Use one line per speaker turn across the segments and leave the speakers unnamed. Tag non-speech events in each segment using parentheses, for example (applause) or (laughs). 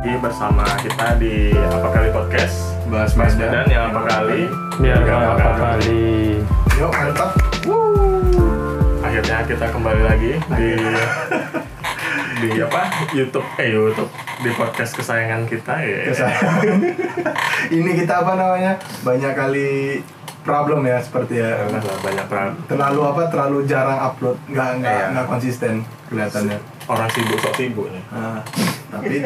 Jadi bersama kita di apa kali podcast
bahas
Mas Medan yang apa kali
biar
Iya, Nggak
nggak
apa-apa.
apa kali
Yuk mantap.
akhirnya kita kembali lagi di di apa YouTube eh YouTube di podcast kesayangan kita ya
(laughs) Ini kita apa namanya? Banyak kali problem ya seperti ya.
karena lah banyak pra-
Terlalu apa? Terlalu jarang upload, nggak nggak
Iya.
nggak konsisten kelihatannya.
orang sibuk sok sibuk nih
Nah, tapi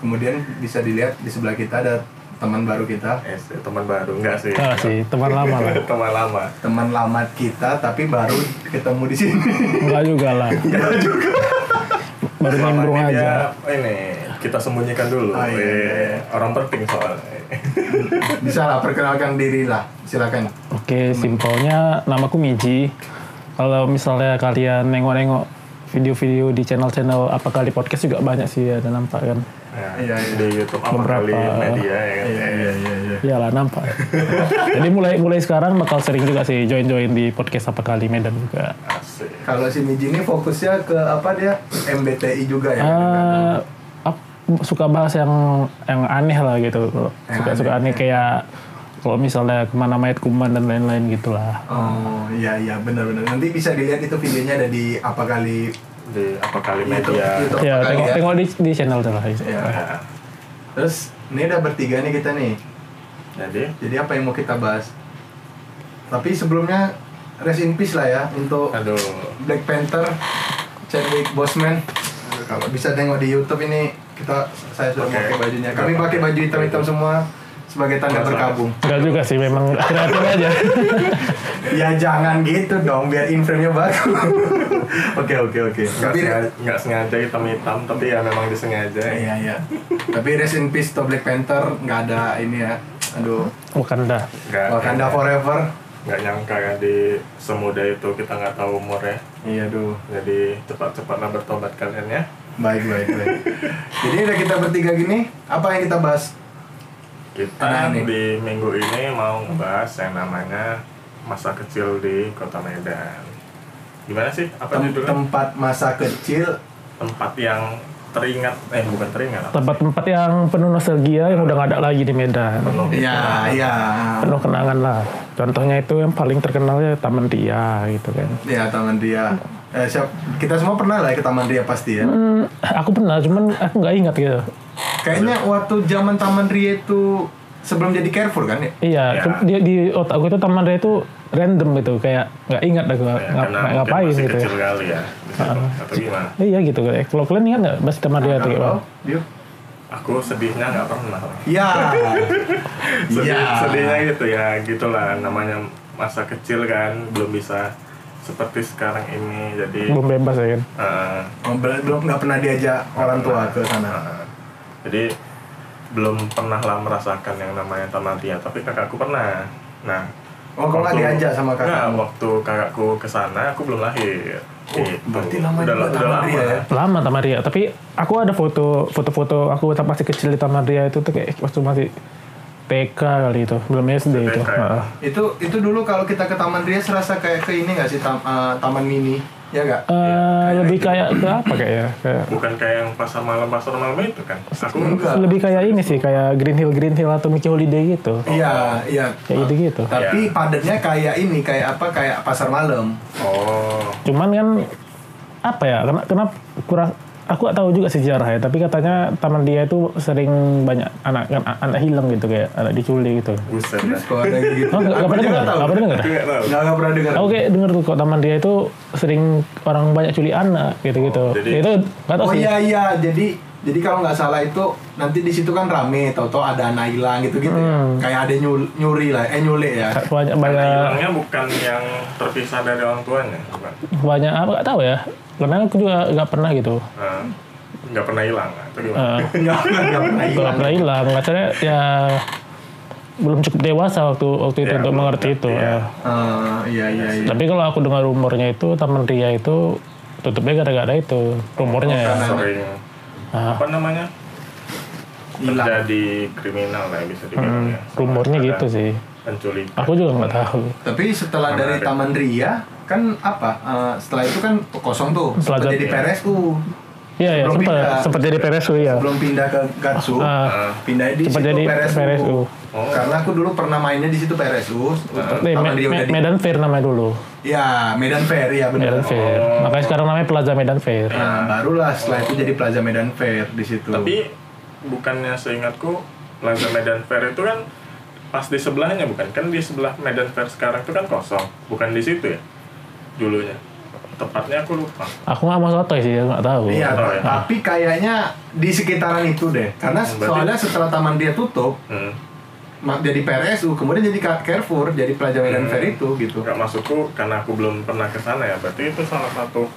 kemudian bisa dilihat di sebelah kita ada teman baru kita,
eh, sih, teman baru enggak sih
ah sih teman lama lah
(laughs) teman lama
teman lama kita tapi baru ketemu di sini. (laughs)
enggak juga
(laughs)
lah baru main
Selama
burung
ini
aja
dia- ini kita sembunyikan dulu
Ah, iya,
Eh,
iya, iya.
orang penting soalnya
bisa lah perkenalkan diri lah, silakan.
Oke, simpelnya namaku Miji. Kalau misalnya kalian nengok-nengok video-video di channel-channel apa kali podcast juga banyak sih ya, ada nampak kan.
Nah,
Iya, iya.
di YouTube apa
Beberapa-
kali media ya kan?
iya iya iya.
Iyalah
(laughs)
nampak. Jadi mulai mulai sekarang bakal sering juga sih join-join di podcast apa kali Medan juga.
Asik.
Kalau si Miji ini fokusnya ke apa dia? MBTI juga ya.
Eh, ap- suka bahas yang yang aneh lah gitu. Suka suka aneh kayak kalau misalnya kemana mayat kuman dan lain-lain gitulah.
Oh iya iya benar-benar. Nanti bisa dilihat itu videonya ada di apa kali
di apa kali
YouTube
media
YouTube
Ya,
apa kali
tengok,
ya.
tengok di, di channel lah.
Iya.
Nah,
Terus ini udah bertiga nih kita nih.
(laughs) jadi
Jadi apa yang mau kita bahas? Tapi sebelumnya rest in peace lah ya untuk
aduh
Black Panther Chadwick Boseman. Kalau bisa tengok di YouTube ini kita saya sudah
Oke.
pakai bajunya. Kami pakai baju hitam-hitam semua sebagai tanda
Masalah.
berkabung.
Enggak juga sih, memang (laughs) kreatif aja.
Ya jangan gitu dong, biar in frame-nya bagus. (laughs) Oke oke
nggak
oke.
ya?
Tapi
sengaja, nggak sengaja hitam hitam tapi ya memang disengaja
Iya iya. Tapi rest in peace to Black Panther nggak ada ini ya. Aduh.
Bukan dah.
nggak
kan?
Wakanda
nggak-
forever.
nggak nyangka kan di semudah itu kita nggak tahu umurnya
Iya duh.
jadi cepat-cepatlah bertobat kalian ya
Baik baik baik. Jadi udah kita bertiga gini, apa yang kita bahas?
kita
Nah, ini.
di minggu ini mau ngebahas yang namanya masa kecil di kota Medan gimana sih apa
Tem-
judulnya
tempat masa kecil.
tempat yang teringat eh bukan teringat apa?
Tempat-tempat yang penuh nostalgia yang udah nggak ada lagi di Medan.
Penuh-
Iya iya.
Penuh kenangan lah. Contohnya itu yang paling terkenalnya Taman Ria gitu kan.
Iya Taman Ria. Eh, siap. Kita semua pernah lah ya ke Taman Ria pasti ya.
Hmm, aku pernah, cuman aku nggak ingat gitu.
Kayaknya waktu zaman Taman Ria itu sebelum jadi Carrefour kan ya?
Iya,
Ya.
ke- di, di otak gue itu Taman Ria itu random gitu, kayak nggak ingat aku
Ya,
ngap-
karena mungkin
ngapain
masih
gitu. ya.
kecil kali ya di situ. atau gimana
Iya gitu. kayak- Kalau kalian ingat nggak masih Taman Ria itu kayak apa?
Kalau yuk.
aku sedihnya nggak pernah
Iya.
(laughs) Sedih,
Iya.
sedihnya gitu ya gitulah namanya masa kecil kan belum bisa seperti sekarang ini jadi
Belum bebas ya kan.
eh,
Oh, bel- belum nggak pernah diajak orang tua ke sana.
eh, jadi belum pernah lah merasakan yang namanya taman ria tapi kakakku pernah nah
Oh, kok nggak
waktu-
diajak sama kakak?
Nggak, waktu kakakku ke sana aku belum lahir
Oh,
Gitu.
berarti
udah,
lama juga
udah
Taman
lama
Ria ya?
Lama Taman Ria, tapi aku ada foto foto-foto aku waktu masih kecil di Taman Ria itu tuh kayak waktu masih TK kali itu, belum SD itu.
TK.
Heeh.
Itu itu dulu kalau kita ke Taman Ria serasa kayak ke ini nggak sih tam- eh, Taman Mini? Ya nggak?
Eh, lebih
gitu.
kayak ke apa kayaknya? Kayak
bukan kayak yang pasar malam pasar malam itu kan aku
Enggak.
lebih kayak ini sih, kayak Green Hill Green Hill atau Mickey Holiday
Oh.
gitu.
Iya, iya.
Kayak gitu-gitu.
Iya.
Tapi padatnya kayak ini, kayak apa? Kayak pasar malam.
oh
Cuman kan apa ya? Karena kenapa kurang aku gak tahu juga sejarah ya, tapi katanya Taman Ria itu sering banyak anak anak, anak hilang gitu kayak anak diculik gitu.
buset dah
Kok ada yang gitu?
Oh, nggak nggak
Aku
pernah
juga
dengar?
tahu.
Nggak pernah dengar? Oh,
Aku nggak tahu.
Nggak nggak pernah dengar.
Oke, denger tuh kok Taman Ria itu sering orang banyak culik anak gitu-gitu.
jadi-
itu nggak tahu
Oh
sih.
iya iya, jadi jadi kalau nggak salah itu nanti di situ kan rame, tau-tau ada anak hilang gitu-gitu
Hmm.
ya. Kayak ada nyul- nyuri lah, eh nyulik ya.
Banyak
Karena
banyak
hilangnya bukan yang terpisah dari orang tuanya, bukan.
banyak apa nggak tahu ya. Karena aku juga nggak pernah gitu.
Nah, nggak pernah hilang ah, atau gimana?
Eh,
Nggak nggak pernah
nggak
hilang.
pernah hilang. Katanya ya belum cukup dewasa waktu waktu itu
Ya,
Iya,
untuk
belum
mengerti
ngerti,
itu.
ya.
ya.
Ah, iya iya iya.
Tapi kalau aku dengar rumornya itu Taman Ria itu tutupnya gara-gara itu rumornya ya.
Sering
Ah,
apa namanya
Hilang.
terjadi kriminal lah ya, bisa dibilang ya.
Hmm, rumornya
Ada
gitu sih.
Penculikan.
Aku juga nggak tahu.
Tapi setelah dari
Menarik.
Taman Ria kan apa? eh, setelah itu kan kosong tuh.
Setelah
Setelah jadi
jadi-
PRSU.
Iya ya,
Sebelum
sempat
pindah.
sempat jadi Peresu ya.
Sebelum pindah ke Gatsu,
Ah,
pindah di
sempat
situ
jadi
PRSU.
PRSU.
Oh.
Karena aku dulu pernah mainnya di situ PRSU.
eh,
Pertama
Me-
dia udah
Me-
di
Medan Fair namanya dulu.
Ya, Medan Fair ya benar.
Medan Fair. Makanya sekarang namanya Plaza Medan Fair.
Nah, barulah setelah itu jadi Plaza Medan Fair di situ.
Tapi bukannya seingatku Plaza Medan Fair itu kan pas di sebelahnya bukan? Kan di sebelah Medan Fair sekarang itu kan kosong, bukan di situ ya dulunya. Tepatnya aku lupa.
Aku nggak mau sotoy sih, nggak tahu.
Iya,
Oh, ya.
tapi kayaknya di sekitaran itu deh. Karena
Berarti-
soalnya setelah taman dia tutup,
Hmm.
ma- jadi PRSU, kemudian jadi Car- Carrefour, jadi Plaza
Hmm.
Medan Fair itu gitu.
Nggak masukku karena aku belum pernah ke sana ya. Berarti itu salah satu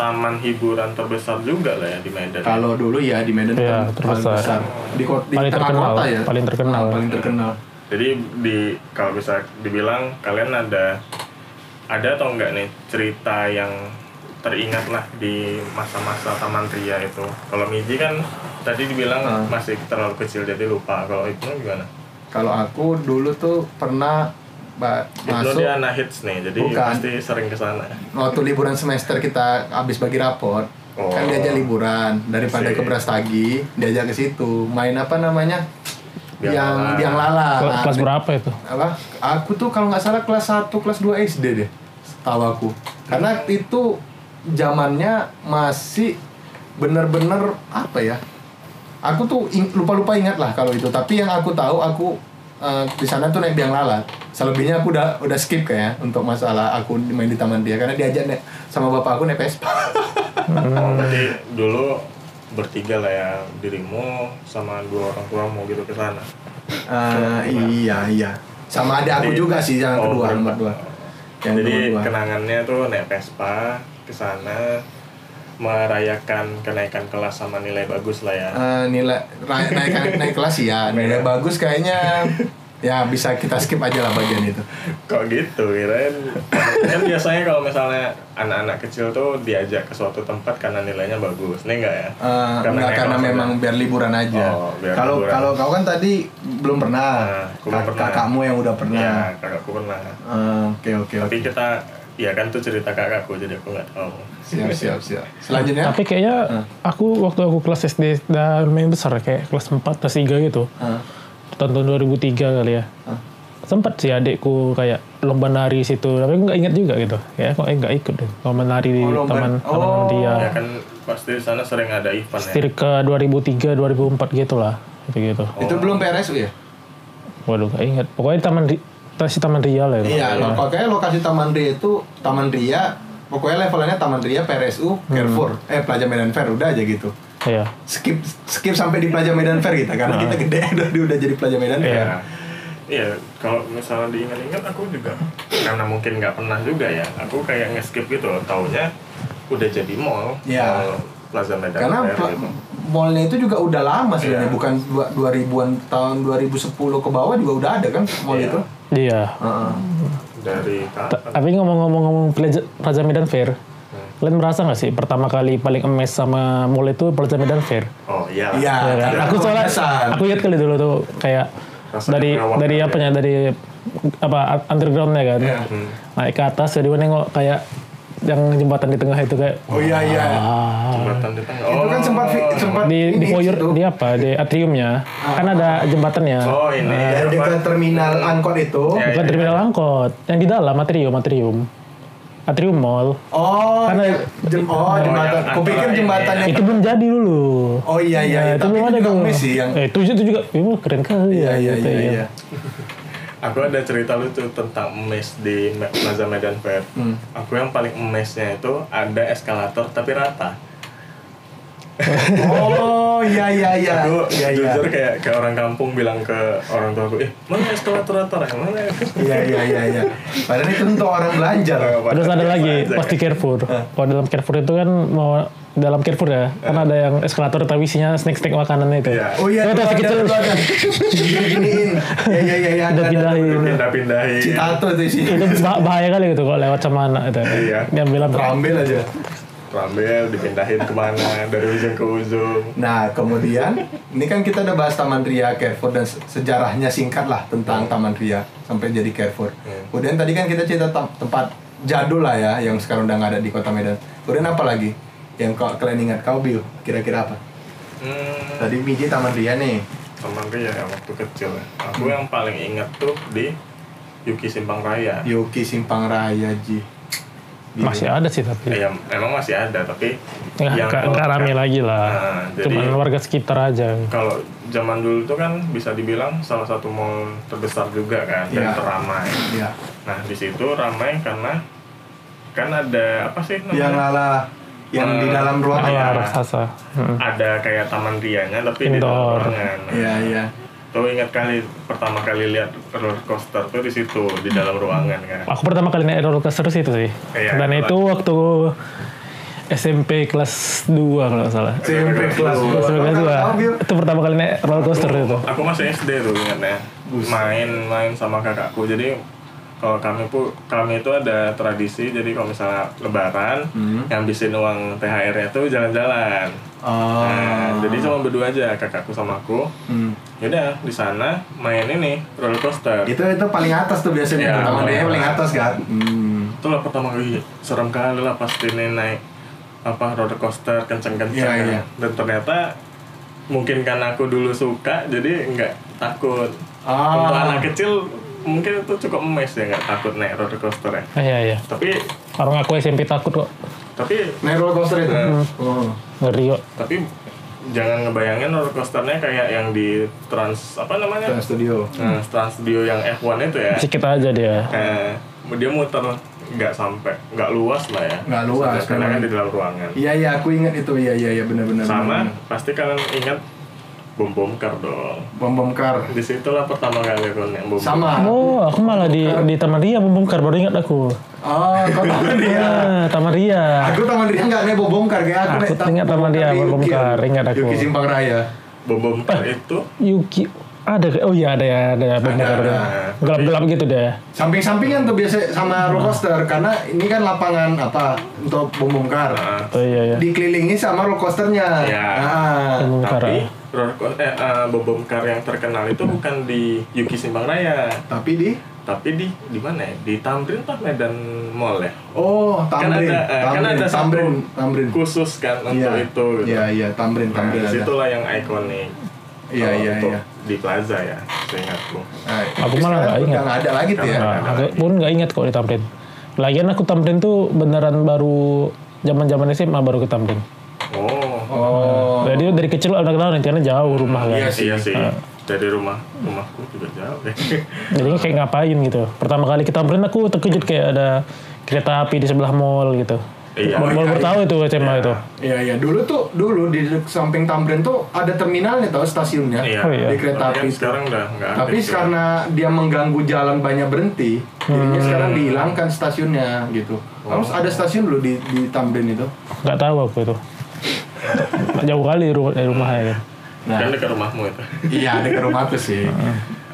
taman hiburan terbesar juga lah ya di Medan.
Kalau dulu ya di Medan kan
Iya,
paling
terbesar.
besar. Di, kot- di
Paling
tengah
terkenal,
kota ya.
paling terkenal.
Ah, paling terkenal.
Jadi di kalau bisa dibilang kalian ada ada atau enggak nih cerita yang teringat lah di masa-masa Taman Ria itu. Kalau Miji kan tadi dibilang
Ah.
masih terlalu kecil jadi lupa. Kalau Ibnu gimana?
Kalau aku dulu tuh pernah ba-
Ibnu
masuk
dia anak hits nih, jadi
Bukan.
pasti sering ke sana.
waktu liburan semester kita habis bagi rapor
Oh.
kan diajak liburan daripada
Asik.
ke Brastagi diajak ke situ main apa namanya
Biang
yang
Lala.
biang lala
Kelas,
Nah,
kelas
di-
berapa itu?
apa aku tuh kalau nggak salah kelas 1 kelas 2 SD deh tahu aku karena itu zamannya masih bener-bener apa ya aku tuh ing- lupa-lupa ingat lah kalau itu tapi yang aku tahu aku eh, di sana tuh naik biang lala selebihnya aku udah udah skip kayak untuk masalah aku main di taman dia karena diajak naik sama bapak aku naik Vespa Hmm.
Oh, berarti dulu bertiga lah ya dirimu sama dua orang tua mau gitu ke sana.
Eh, iya iya sama ada aku
Ah, Jadi-
juga sih yang
Oh, berempat.
kedua nomor dua yang
Jadi
nomor dua.
kenangannya tuh naik Vespa ke sana merayakan kenaikan kelas sama nilai bagus lah ya.
Eh, nilai ra- naik naik kelas ya nilai bagus kayaknya ya bisa kita skip aja lah bagian itu
Kok gitu, kirain kan biasanya kalau misalnya anak-anak kecil tuh diajak ke suatu tempat karena nilainya bagus, nih enggak ya?
Eh, enggak
naik
karena
kelas
memang
aja.
biar liburan aja
Oh, biar
kalau
liburan.
kalau kau kan tadi belum
Nah,
pernah,
aku belum
Kak-
pernah.
kakakmu yang udah
ya
pernah
kakakku pernah.
Eh, oke oke
Tapi
oke
kita ya kan tuh cerita kakakku jadi aku nggak tahu.
siap siap siap selanjutnya
Tapi
Hmm.
kayaknya aku waktu aku kelas SD dan main besar kayak kelas 4 kelas 3 gitu.
Eh,
Tahun 2003 kali ya.
Hah?
Sempat sih adikku kayak lomba nari situ, tapi aku nggak ingat juga gitu. Ya, kok nggak ikut deh. Lomba nari di
Oh, lomba-
taman taman
Oh.
Ya
dia.
kan pasti di sana sering ada event ya.
Setirka 2003 2004 gitu lah. Gitu gitu.
Oh.
itu belum PRSU ya
Waduh, nggak ingat. Pokoknya taman di Tasik Taman Ria lah itu.
iya lo- pokoknya lokasi Taman Ria itu Taman Ria pokoknya levelnya Taman Ria PRSU Carrefour eh Plaza Medan Fair udah aja gitu
Iya.
skip skip sampai di Plaza Medan Fair kita
Ah.
karena kita gede (laughs) udah udah jadi Plaza Medan Fair.
Ya. Iya, kalau misalnya diingat-ingat aku juga karena mungkin nggak pernah juga ya. Aku kayak nge-skip gitu loh, taunya udah jadi mall.
Iya.
mall Plaza Medan.
Karena
Fair
pla-
gitu.
mallnya itu juga udah lama
Iya.
sebenarnya bukan dua- 2000-an tahun 2010 ke bawah juga udah ada kan mall
Iya.
itu.
Iya.
Heeh.
dari
Ta-
kapan?
Tapi ngomong-ngomong Plaza- Plaza Medan Fair, kalian merasa nggak sih pertama kali paling emes sama mall itu Plaza Medan Fair?
Oh iya. lah.
Iya.
Ya kan?
ada
Aku soalnya
kebiasaan.
aku lihat kali dulu tuh kayak
Rasanya
dari
merawat
dari
kali
apanya dari apa un- undergroundnya kan
ya. Iya.
naik ke atas jadi gua nengok kayak yang jembatan di tengah itu kayak
Oh iya iya.
ah.
Jembatan oh. di tengah.
Itu kan sempat vi- sempat
di di
ini
foyer
situ.
di apa di atriumnya kan ada jembatannya
Oh ini.
Ya,
apa?
dekat terminal angkot itu.
Iya.
bukan terminal angkot yang di dalam atrium atrium atrium mall
Oh,
Karena-
iya. jem, oh,
yang
jembatan.
Iya,
Kupikir
antara
jembatan
ini.
yang
itu belum jadi dulu
Oh iya iya,
Nah,
iya.
itu belum ada
juga
tuh
miss sih yang
eh, itu itu juga wih, keren kali
Iya iya
gitu,
iya
ya.
iya.
Aku ada cerita lucu tentang emes di Me- Plaza Medan Fair.
Hmm.
Aku yang paling emesnya itu ada eskalator tapi rata.
Oh iya iya iya.
Aku
Iya iya.
jujur kayak kayak orang kampung bilang ke orang tua aku, eh mana eskalator rata? Mana?
Iya iya iya iya. Padahal itu untuk orang belanja loh.
Terus
Iya,
ada lagi pasti Carrefour.
Ah.
Kalau dalam Carrefour itu kan mau dalam Carrefour ya, kan ada yang eskalator tapi isinya snack-snack makanannya itu.
Ah. Iya.
Oh iya,
Itu
itu
masih
ada,
kecil.
itu ada. Gini-giniin. Ya ya ya ya.
Udah pindahin.
Iya. pindah-pindahin.
Citato itu sih.
Itu bah- bahaya kali gitu kalau lewat sama anak itu.
Iya.
Dia bilang
Terambil aja.
Rambel dipindahin kemana dari ujung ke ujung.
Nah, kemudian ini kan kita udah bahas Taman Ria Carrefour dan se- sejarahnya singkat lah tentang Taman Ria sampai jadi Carrefour. Kemudian tadi kan kita cerita tem- tempat jadul lah ya yang sekarang udah nggak ada di Kota Medan. Kemudian apa lagi? yang kau kalian ingat kau Bill kira-kira apa
Hmm,
tadi Miji taman dia nih
teman tuh ya waktu kecil ya. Aku yang paling ingat tuh di Yuki Simpang Raya.
Yoki Simpang Raya Ji Di-
Masih ada sih tapi.
Ya, emang masih ada tapi
Iya. Ya, nggak nggak rame lagi lah.
Nah, jadi-
Cuman warga sekitar aja.
kalau zaman dulu tuh kan bisa dibilang salah satu mall terbesar juga kan dan
Iya.
teramai.
ya
Nah di situ ramai karena kan ada apa sih
yang
namanya?
lala yang di
Eh,
dalam ruang
iya.
Ayah raksasa. Hmm.
Ada kayak taman rianya tapi di Nah, dalam
Indoor.
ruangan.
iya iya
Tuh ingat kali pertama kali lihat roller coaster tuh di situ di dalam ruangan kan.
Aku pertama kali naik roller coaster sih itu sih.
Iya,
Dan
kelas-
itu waktu SMP kelas 2 kalau nggak salah.
SMP kelas
Kelas Eh,
dua.
SMP
Kau
kelas
tahu kau, Bill?
2. Itu pertama kali naik roller coaster itu.
Aku masih SD tuh ingatnya.
Buset.
Main-main sama kakakku. Jadi kalau kami pun kami itu ada tradisi jadi kalau misalnya lebaran
Hmm.
yang ngabisin uang THR-nya tuh jalan-jalan.
Oh.
Nah, jadi cuma berdua aja kakakku sama aku.
Hmm.
Yaudah di sana main ini roller coaster.
itu itu paling atas tuh biasanya
Iya,
taman
paling
dia paling
atas.
atas kan hmm.
Itulah pertama kali serem kali lah pasti ini naik apa roller coaster kenceng-kenceng. kan.
Iya, iya.
Dan ternyata mungkin karena aku dulu suka jadi nggak takut.
Ah.
Untuk anak kecil mungkin itu cukup emes ya nggak takut naik roller coaster ya.
Ah, Iya iya.
Tapi
Orang aku SMP takut kok.
tapi
naik roller coaster itu
Iya.
oh.
Ngeri kok.
tapi jangan ngebayangin roller coasternya kayak yang di trans apa namanya?
Trans studio
Nah, trans studio yang F1 itu ya.
Sikit aja dia.
eh dia muter nggak sampai nggak luas lah ya
Nggak luas,
Sedangkan karena kan
memang.
di dalam ruangan
iya iya aku ingat itu iya iya iya benar-benar
sama pasti kalian ingat bom bom kar dong
bom bom kar
disitulah pertama kali aku naik bom
sama
Oh, aku malah di di Taman Ria membongkar baru ingat aku.
oh kau taman dia
Ah, Taman Ria.
aku taman dia nggak naik bom bom kar kayak aku
Aku
naik
ingat Taman Ria,
di
bom bom
Yuki.
kar, ingat aku.
Yuki Simpang Raya
bom bom kar itu
Yuki ada ke- oh iya ada ya ada ya
Ada,
benar
ada.
nah,
gelap-gelap gitu deh
samping-sampingan tuh biasa sama roller coaster karena ini kan lapangan apa untuk bom bom kar
Nah,
oh iya iya
dikelilingi sama roller coasternya
Iya.
Nah,
Membongkar,
tapi
ah.
roller co- eh, eh, bom bom kar yang terkenal itu bukan di Yuki Simpang Raya
tapi di
tapi di di mana ya di Tamrin atau Medan Mall ya
Oh, Tamrin.
kan ada eh, kan
Tamrin,
ada satu
Tamrin, Tamrin.
khusus kan untuk
Iya.
itu gitu.
Iya, iya, Tamrin,
Nah,
Tamrin. ada.
disitulah yang ikonik.
Iya,
Kalau
iya,
untuk
iya.
Di plaza ya, seingatku.
Nah,
Aku
terus sekarang
malah nggak
udah
ingat.
nggak ada lagi tuh ya.
Nggak.
nah, aku pun nggak ingat kok di Tamrin lagian aku Tamrin tuh beneran baru zaman zaman SMA baru ke Tamrin
Oh,
Oh.
jadi dari kecil udah kenal karena jauh rumah kan
iya sih, iya sih.
Nah.
Dari rumah rumahku juga jauh.
jadi kayak ngapain gitu pertama kali ke Tamrin aku terkejut kayak ada kereta api di sebelah mall gitu
(laughs) Iya.
mall baru tahu itu SMA itu
Iya, iya. Dulu tuh, dulu di samping Tamrin tuh ada terminalnya tau stasiunnya.
iya.
Oh, iya.
Di kereta
Tapi kan
api.
sekarang udah nggak ada.
Tapi karena dia mengganggu jalan banyak berhenti, jadinya sekarang dihilangkan stasiunnya gitu. Harus ada stasiun dulu di, di Tamrin itu.
nggak tahu aku itu jauh kali ru- dari rumahnya kan
kan dekat rumahmu itu.
Nah, iya, ada ke rumah tuh sih.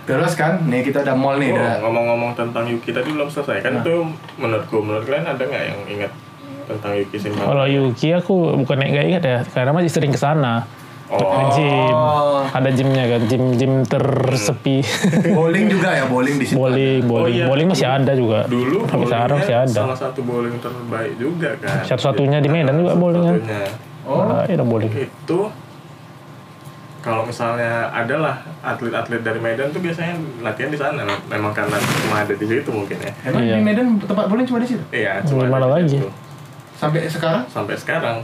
Terus kan, nih kita ada mall nih,
Oh,
ada
ngomong-ngomong tentang Yuki tadi belum selesai
Nah.
kan itu menurutku menurut kalian ada nggak yang ingat tentang Yuki Simpang?
Kalau Yuki aku bukan naik gak ingat ya, karena masih sering ke sana.
Oh,
Gym. Ada gymnya kan, gym gym
(laughs)
tersepi.
bowling juga ya, bowling di situ.
bowling, bowling,
iya.
bowling masih ada juga.
dulu
Sampai sekarang masih
bowlingnya
ada.
salah satu bowling terbaik juga kan.
Satu-satunya di
Nah,
Medan juga bowling kan.
satu-satunya.
Oh,
Nah, ada bowling.
itu kalau misalnya adalah atlet-atlet dari Medan tuh biasanya latihan di sana memang karena cuma ada di situ mungkin ya
Emang
Iya.
di Medan tempat bowling cuma di situ?
iya cuma ada
Gimana
di
lagi?
situ.
Sampai sekarang?
sampai sekarang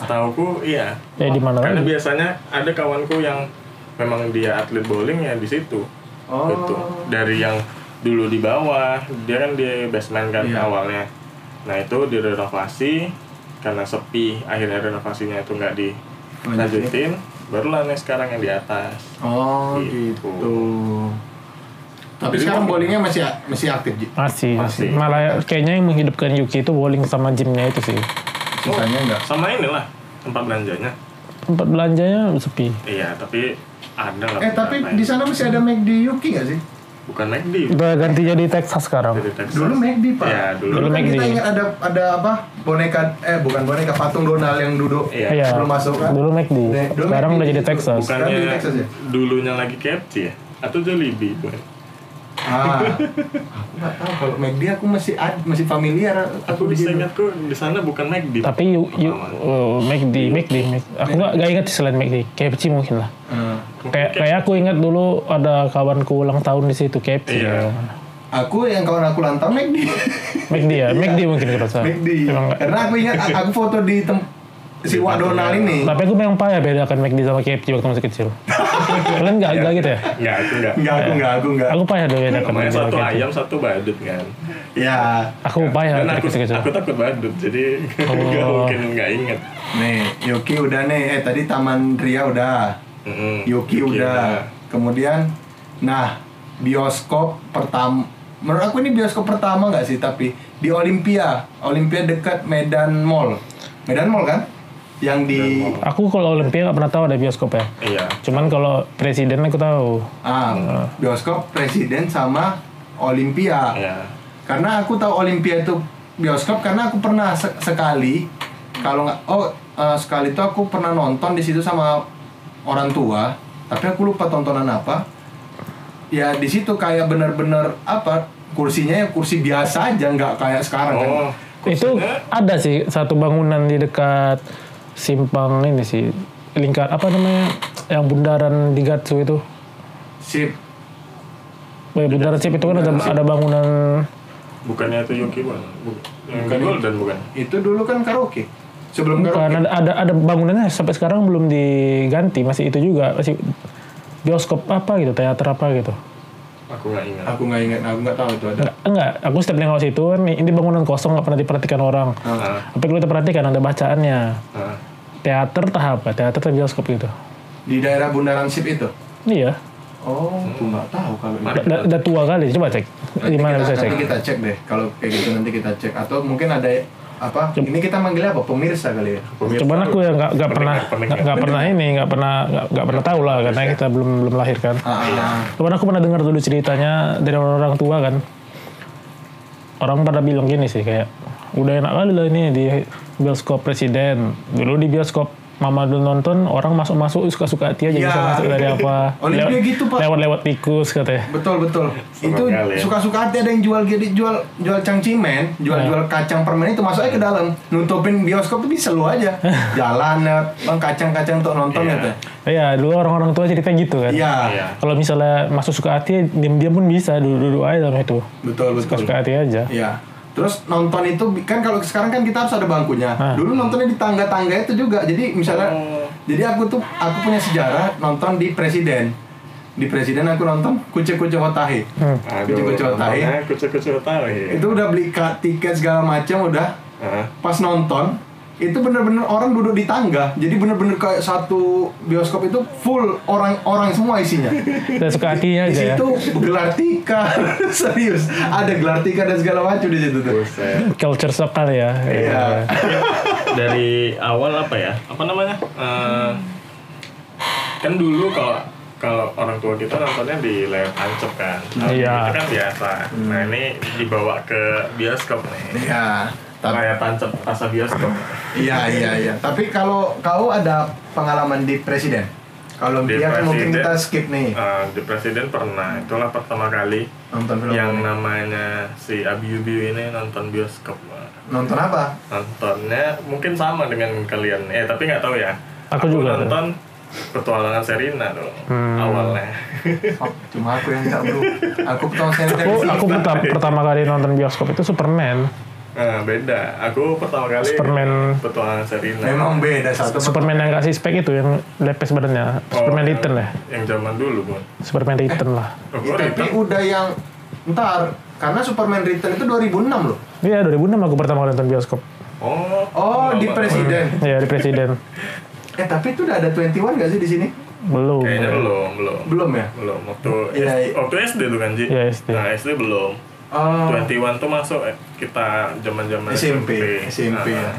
setauku iya
Ya di mana
karena
lagi?
biasanya ada kawanku yang memang dia atlet bowling ya di situ
Oh.
Gitu. dari yang dulu di bawah dia kan di basement kan
Iya.
awalnya nah itu direnovasi karena sepi akhirnya renovasinya itu nggak dilanjutin barulah nih sekarang yang di atas
Oh
Gitu.
Tapi sekarang bowlingnya masih masih aktif, Ji.
Masih,
Masih.
malah kayaknya yang menghidupkan Yuki itu bowling sama gymnya itu sih.
Sisanya enggak.
sama inilah tempat belanjanya
Tempat belanjanya sepi.
iya tapi ada lah
Eh tapi
beberapa yang-
di sana masih ada McD Yuki nggak sih?
bukan McD
Udah ganti jadi Texas sekarang.
dari Texas
Dulu McD pak.
Iya, dulu.
kan
Dulu
kita
McD.
ingat ada ada apa boneka eh bukan boneka patung Donald yang duduk.
Iya.
Iya.
Sebelum masuk kan?
Dulu McD.
Dulu
Sekarang
McD
udah jadi
gitu.
Texas.
Sekarang
bukannya
di Texas ya?
dulunya lagi KFC ya atau Jollibee bukan
Ah, aku nggak tahu kalau McD aku masih ad- masih familiar
Aku
aku
bisa
begini.
ingatku di sana bukan McD.
Tapi you, you oh, McD, McD, McD. Aku nggak nggak ingat selain McD. KFC mungkin lah.
Eh,
Kayak kayak aku ingat dulu ada kawanku ulang tahun di situ KFC.
Iya.
aku yang kawan aku lantang (laughs) McD.
McD ya,
Iya.
McD mungkin kalau salah.
McD.
Emang nggak-
Karena aku ingat aku foto di tem si Wak Donald ini.
Tapi aku memang payah bedakan McD sama KFC waktu masih
(laughs)
kecil. Kalian
Iya.
nggak nggak gitu ya?
Enggak, aku enggak.
Enggak aku enggak aku enggak.
Aku payah deh bedakan
Namanya
McD sama
satu
KFC.
ayam, satu badut kan.
Ya.
Aku payah
Dan
dari
aku,
kecil-kecil.
aku takut badut, jadi (laughs) nggak
Iya, Oh.
mungkin nggak inget.
Nih, Yoki udah nih. Eh tadi Taman Ria udah.
Mm-mm.
Yoki udah. Kemudian nah, bioskop pertama Menurut aku ini bioskop pertama nggak sih tapi di Olimpia, Olimpia dekat Medan Mall. Medan Mall kan? Yang di
Aku kalau Olimpia nggak pernah tahu ada bioskop ya.
Iya.
Cuman kalau presiden aku tahu.
ah, bioskop Presiden sama Olimpia.
Iya.
Karena aku tahu Olimpia itu bioskop karena aku pernah se- sekali kalau nggak oh eh, sekali itu aku pernah nonton di situ sama orang tua tapi aku lupa tontonan apa ya di situ kayak bener-bener apa kursinya ya kursi biasa aja nggak kayak sekarang kan
Oh,
Itu ada sih satu bangunan di dekat simpang ini sih lingkar apa namanya yang bundaran di Gatsu itu.
sip
Eh, bundaran Sip itu kan ada, ada bangunan
bukannya itu Yoki bukan? Bu- Yang kedua dan bukan.
itu dulu kan karaoke sebelum karaoke
bukan ada, ada ada bangunannya sampai sekarang belum diganti masih itu juga masih bioskop apa gitu teater apa gitu.
Aku nggak ingat.
aku nggak ingat aku nggak tahu itu ada
Enggak, enggak. aku setiap nengok situ kan ini bangunan kosong nggak pernah diperhatikan orang.
Ah,
Tapi kalau diperhatikan ada bacaannya.
ah.
Teater tahap apa? Teater atau bioskop gitu.
di daerah bundaran sip itu
Iya.
oh aku nggak tahu kalau itu.
Udah udah tua kali, coba cek. Di mana
Nanti
bisa
kita-
cek?
nanti kita cek deh kalau kayak gitu nanti kita cek atau mungkin ada apa ini kita manggilnya apa pemirsa kali ya
Pemirsa,
Cuman aku yang nggak nggak pernah
pendengar.
nggak pernah ini nggak pernah nggak- nggak pernah tahu lah karena kita belum belum lahir kan.
ah, ah.
Cuman aku pernah dengar dulu ceritanya dari orang-orang tua kan. Orang pada bilang gini sih kayak udah enak kali lah ini di bioskop presiden. Dulu di bioskop Mama dulu nonton orang masuk-masuk suka-suka hati aja
Ya.
bisa masuk dari
(laughs)
apa.
Olimpia
Lewat-
gitu, Pak.
Lewat-lewat tikus katanya.
betul betul itu
sekali ya.
suka suka hati ada yang jual jadi jual jual cangcimen jual
Iya.
jual kacang permen itu masuknya ke dalam nutupin bioskop itu bisa lu
(laughs)
aja jalan ya, bang kacang kacang untuk nonton
Iya.
gitu
Iya, dulu orang-orang tua cerita gitu kan.
iya
Iya.
Kalau misalnya masuk suka hati, diam-diam pun bisa duduk-duduk aja sama itu.
betul betul
Suka hati aja.
iya Terus nonton itu bi- kan kalau sekarang kan kita harus ada bangkunya.
Ah.
Dulu nontonnya di tangga-tangga itu juga. Jadi misalnya
Oh.
Jadi aku tuh aku punya sejarah nonton di Presiden. Di Presiden aku nonton kuce-kuce Hotahe.
Aduh,
Kucing-kucing otahe.
namanya Kucing-kucing otahe.
Itu udah beli ka- tiket segala macam udah.
Ah,
Pas nonton itu bener-bener orang duduk di tangga. Jadi bener-bener kayak satu bioskop itu full orang-orang semua
(laughs)
isinya.
Dan suka
Di
hati aja ya.
situ gelar tikar (laughs) serius. Ada gelar tikar dan segala macam di situ tuh.
buset.
Culture shock kali ya.
Iya.
dari awal apa ya apa namanya Eh, kan dulu kalau kalau orang tua kita nontonnya di layar tancap kan Nah,
Iya.
itu kan biasa nah ini dibawa ke bioskop nih
Iya. Tapi
layar tancap rasa bioskop
Iya iya iya. Tapi kalau kau ada pengalaman di presiden? Kalau
Di
dia kan mungkin
presiden.
kita skip nih
Eh, di presiden pernah itulah pertama kali
nonton film
yang
apa?
namanya si Abi Ubi ini nonton bioskop
nonton apa?
nontonnya mungkin sama dengan kalian eh tapi nggak tahu ya
Aku juga Hmm. tuh.
nonton petualangan Serina tuh awalnya
Oh, cuma aku yang nggak bro. Aku pertama kali dari
Aku,
sini.
Iya.
aku pertama, pertama kali nonton bioskop itu Superman.
Nah, beda. Aku pertama kali
Superman.
petualangan Serina.
Memang beda satu.
Superman yang kasih spek itu yang lepes badannya. Superman
yang-
Return ya.
Oh, Yang zaman dulu, Bun.
Superman Return lah.
Oh, gua
Tapi
Return.
udah yang ntar karena Superman Return itu 2006 loh.
Iya, 2006 aku pertama kali nonton bioskop.
Oh,
Oh, di
lama.
presiden.
Iya, di presiden.
Eh, tapi itu udah ada 21 gak sih di sini?
Belum.
Kayaknya belum, belum.
Belum ya?
Belum. Waktu,
Iya,
S-
iya.
waktu SD tuh kan, Ji?
Iya, SD.
Nah, SD belum.
Oh,
21 tuh masuk eh, kita zaman-zaman
SMP,
Ah,
SMP ya.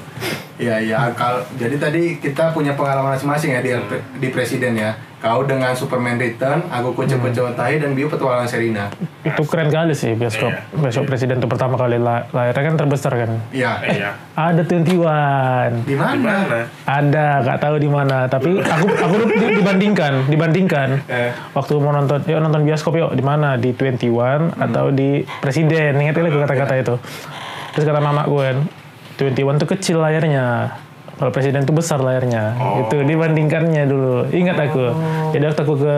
Iya, iya. Kalau jadi tadi kita punya pengalaman masing-masing ya di LP di presiden ya. Kau dengan Superman Return, aku kunci hmm. tai dan Bio petualangan Serina.
Itu keren kali sih bioskop.
Iya.
Bioskop Presiden itu pertama kali la- layarnya kan terbesar kan.
Ah,
Iya.
Iya.
Ada 21.
Di mana?
Gimana?
Ada, nggak tahu di mana. Tapi aku aku dulu di- dibandingkan, dibandingkan.
Eh.
Waktu mau nonton, yuk nonton bioskop yuk di mana? Di 21 atau di Presiden? Ingat lagi kata-kata itu. Terus kata mama gue, 21 tuh kecil layarnya. Kalau presiden tuh besar layarnya.
Oh.
Itu dibandingkannya dulu. Ingat aku. Jadi waktu aku ke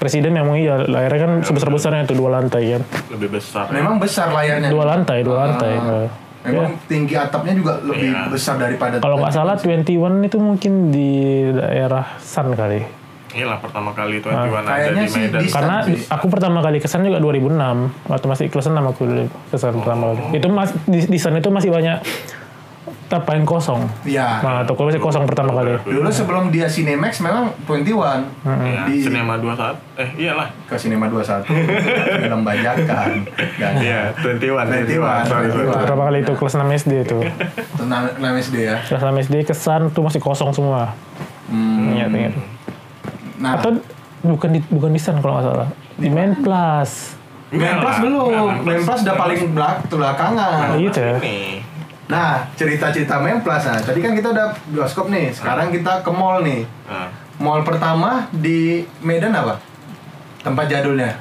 presiden memang iya layarnya
Ya,
kan sebesar-besarnya itu dua lantai kan.
Lebih besar. ya.
Memang besar layarnya.
Dua lantai, dua lantai. eh. Iya.
Ah. Memang tinggi atapnya juga lebih
Iya.
besar daripada
Kalau nggak salah 21 itu mungkin di daerah Sun kali.
Inilah pertama kali 21 ada
Ah, Kayaknya
di
sih
Medan.
di-
Karena
Sun sih.
aku pertama kali kesan juga 2006 waktu masih kelas 6 aku dulu kesan pertama kali. Itu mas, di, di Sun itu masih banyak apa yang kosong.
Iya.
Nah, toko masih kosong pertama kali.
Dulu sebelum dia Cinemax memang 21
Hmm.
Iya,
di
Cinema 21. Eh, iyalah.
ke Cinema (laughs) 21 film bajakan. Dan
Iya, 21. Sorry,
21,
sorry.
21.
Pertama kali itu kelas 6 SD itu.
tentang nama SD ya.
Kelas 6 SD kesan tuh masih kosong semua.
Hmm.
Ingat, ingat.
Nah,
Atau bukan di bukan di Sun kalau nggak salah. Di Main Plus.
Iya
Memplas belum. Iya, Memplas udah paling belak belakangan.
Gitu ya.
Nih.
Nah, cerita-cerita Memplas. Nah, tadi kan kita udah bioskop nih. Sekarang kita ke mall nih.
Nah,
Mall pertama di Medan apa? Tempat jadulnya.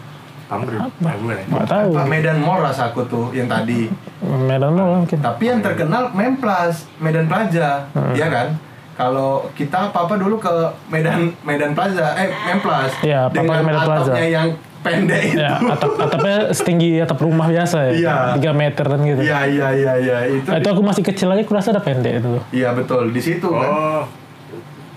Tamrin. Tamrin.
Nggak tahu.
Pak Medan Mall rasa aku tuh yang tadi.
Medan Mall mungkin.
Tapi yang terkenal Memplas, Medan Plaza,
Ah.
iya kan? Kalau kita apa-apa dulu ke Medan Medan Plaza, eh Memplas.
Iya, apa-apa
dengan
ke Medan Plaza.
atapnya yang pendek itu.
Ya, atap, atapnya setinggi atap rumah
Iya.
biasa ya. 3 meter dan gitu.
Iya, iya, iya, iya, itu.
Nah, itu aku masih kecil aja aku rasa ada pendek itu.
Iya, betul. Di situ kan.
Oh,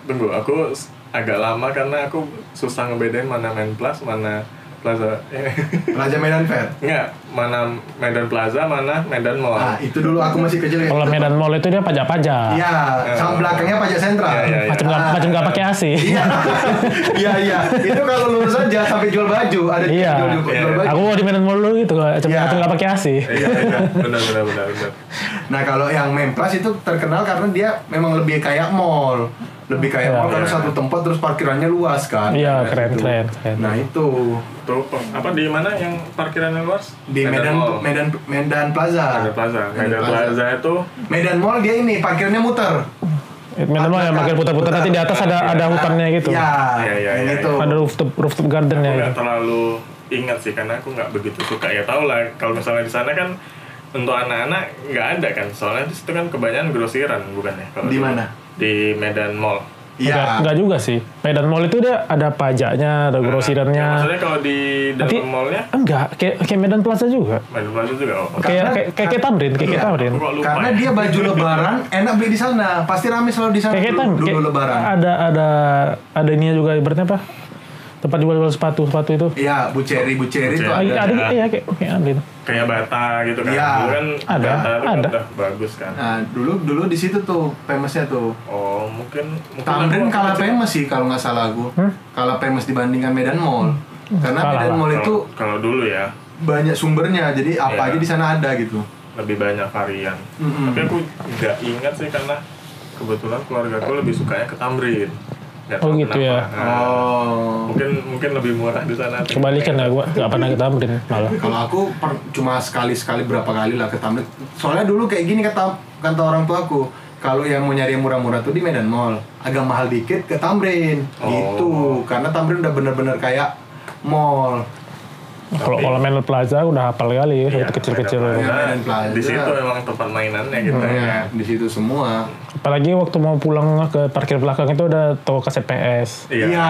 tunggu. Aku s- agak lama karena aku susah ngebedain mana main plus, mana plaza. Eh,
Raja Medan Fair.
(laughs) Enggak, mana Medan Plaza, mana Medan Mall.
Nah, itu dulu aku masih kecil ya.
Kalau Medan Mall itu dia pajak-pajak.
Iya, sama belakangnya pajak sentral.
Iya, iya,
Macam nggak
Ah.
macam nggak pakai AC.
Iya, (laughs) iya, iya. Itu kalau lurus aja sampai jual baju, ada
Iya.
jual, jual- jual
Iya.
baju.
Aku mau di Medan Mall dulu gitu, macam
Iya.
macam nggak pakai AC.
Iya, iya, benar, benar, benar, benar.
Nah kalau yang Memplas itu terkenal karena dia memang lebih kayak mall, lebih kayak
Iya.
mall karena satu tempat terus parkirannya luas kan.
Iya,
Nah,
keren,
itu.
keren, keren.
Nah itu
Tuh, pe- apa di mana yang parkirannya luas?
di Medan
Mall.
Medan Medan Plaza.
Medan Plaza.
Medan
Medan
Plaza.
Plaza itu
Medan Mall dia ini parkirnya muter.
Medan Mall yang makin putar-putar nanti di atas ada ada hutannya gitu.
Iya,
Iya, iya,
yang
iya,
itu.
Ada rooftop rooftop garden
aku
ya.
nggak terlalu ingat sih karena aku nggak begitu suka ya tau lah kalau misalnya di sana kan untuk anak-anak nggak ada kan soalnya di situ kan kebanyakan grosiran bukan ya kalau
Di
dulu.
mana?
di Medan Mall
Iya.
Nggak- nggak juga sih. Medan Mall itu dia ada pajaknya,
Iya.
ada
Ya,
grosirannya.
maksudnya kalau di dalam
Nanti-
mallnya
Enggak, kayak kayak Medan Plaza juga.
Medan Plaza juga oh.
Kayak
Karena-
kayak kayak kayak Tamrin, kayak kayak
Iya.
Tamrin.
Aku kok lupa
Karena
ya?
dia baju lebaran enak beli di sana, pasti rame selalu di sana
Kayak kita
dulu, dulu
Eh, kayak- Ah,
lebaran.
Ada ada ada ini juga ibaratnya apa? Tempat jual-jual sepatu sepatu itu.
Iya, Bu Cherry, Bu Cherry itu
Cherry.
Ada,
ada.
ada, iya kayak kayak Amrin.
kayak bata gitu kan
Iya.
dulu kan
Ada,
bata itu
ada.
udah bagus kan
Nah, dulu dulu di situ tuh famousnya tuh.
oh mungkin mungkin
Tamrin
aku-
kalah famous sih kalau nggak salah aku. Kalah famous dibandingkan Medan Mall. Karena
Kalah
Medan
lah.
Mall
kalau,
itu
kalau dulu ya
banyak sumbernya, jadi
Iya.
apa aja di sana ada gitu.
lebih banyak varian
Mm-mm.
tapi aku nggak ingat sih karena kebetulan keluarga aku lebih sukanya ke Tamrin Nggak
Oh,
tahu
gitu ya.
Nah,
Oh.
mungkin mungkin lebih murah di sana
Kebalikan ya gua nggak pernah ke Tamrin malah.
Kalau aku per- cuma sekali-sekali berapa kali lah ke Tamrin. Soalnya dulu kayak gini kata kata orang tua aku, kalau yang mau nyari yang murah-murah tuh di Medan Mall. Agak mahal dikit ke Tamrin.
Oh.
Gitu. Karena Tamrin udah bener-bener kayak mall.
Kalau kalau Medan Plaza udah hafal kali ya,
Iya,
itu kecil-kecil.
Medan Plaza.
Medan Plaza.
di situ emang tempat mainannya gitu ya
Ya, di situ semua.
Apalagi waktu mau pulang ke parkir belakang itu ada toko kaset PS.
iya
Iya.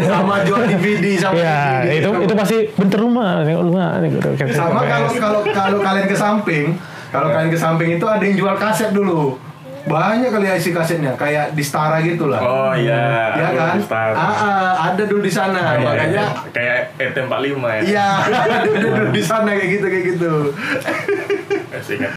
sama jual DVD sama
Iya,
DVD.
itu itu pasti bentar rumah, tengok rumah, tengok kaset
sama
PS.
kalau kalau kalau kalian ke samping, kalau kalian ke samping itu ada yang jual kaset dulu. Banyak kali isi kasetnya kayak di Stara gitu lah.
oh iya
Iya
aku
kan?
di Star.
Ah, ah, ada dulu di sana.
Iya,
makanya
iya. kayak ET45 ya
(laughs) iya, ada dulu di sana kayak gitu kayak gitu.
Masih ingat.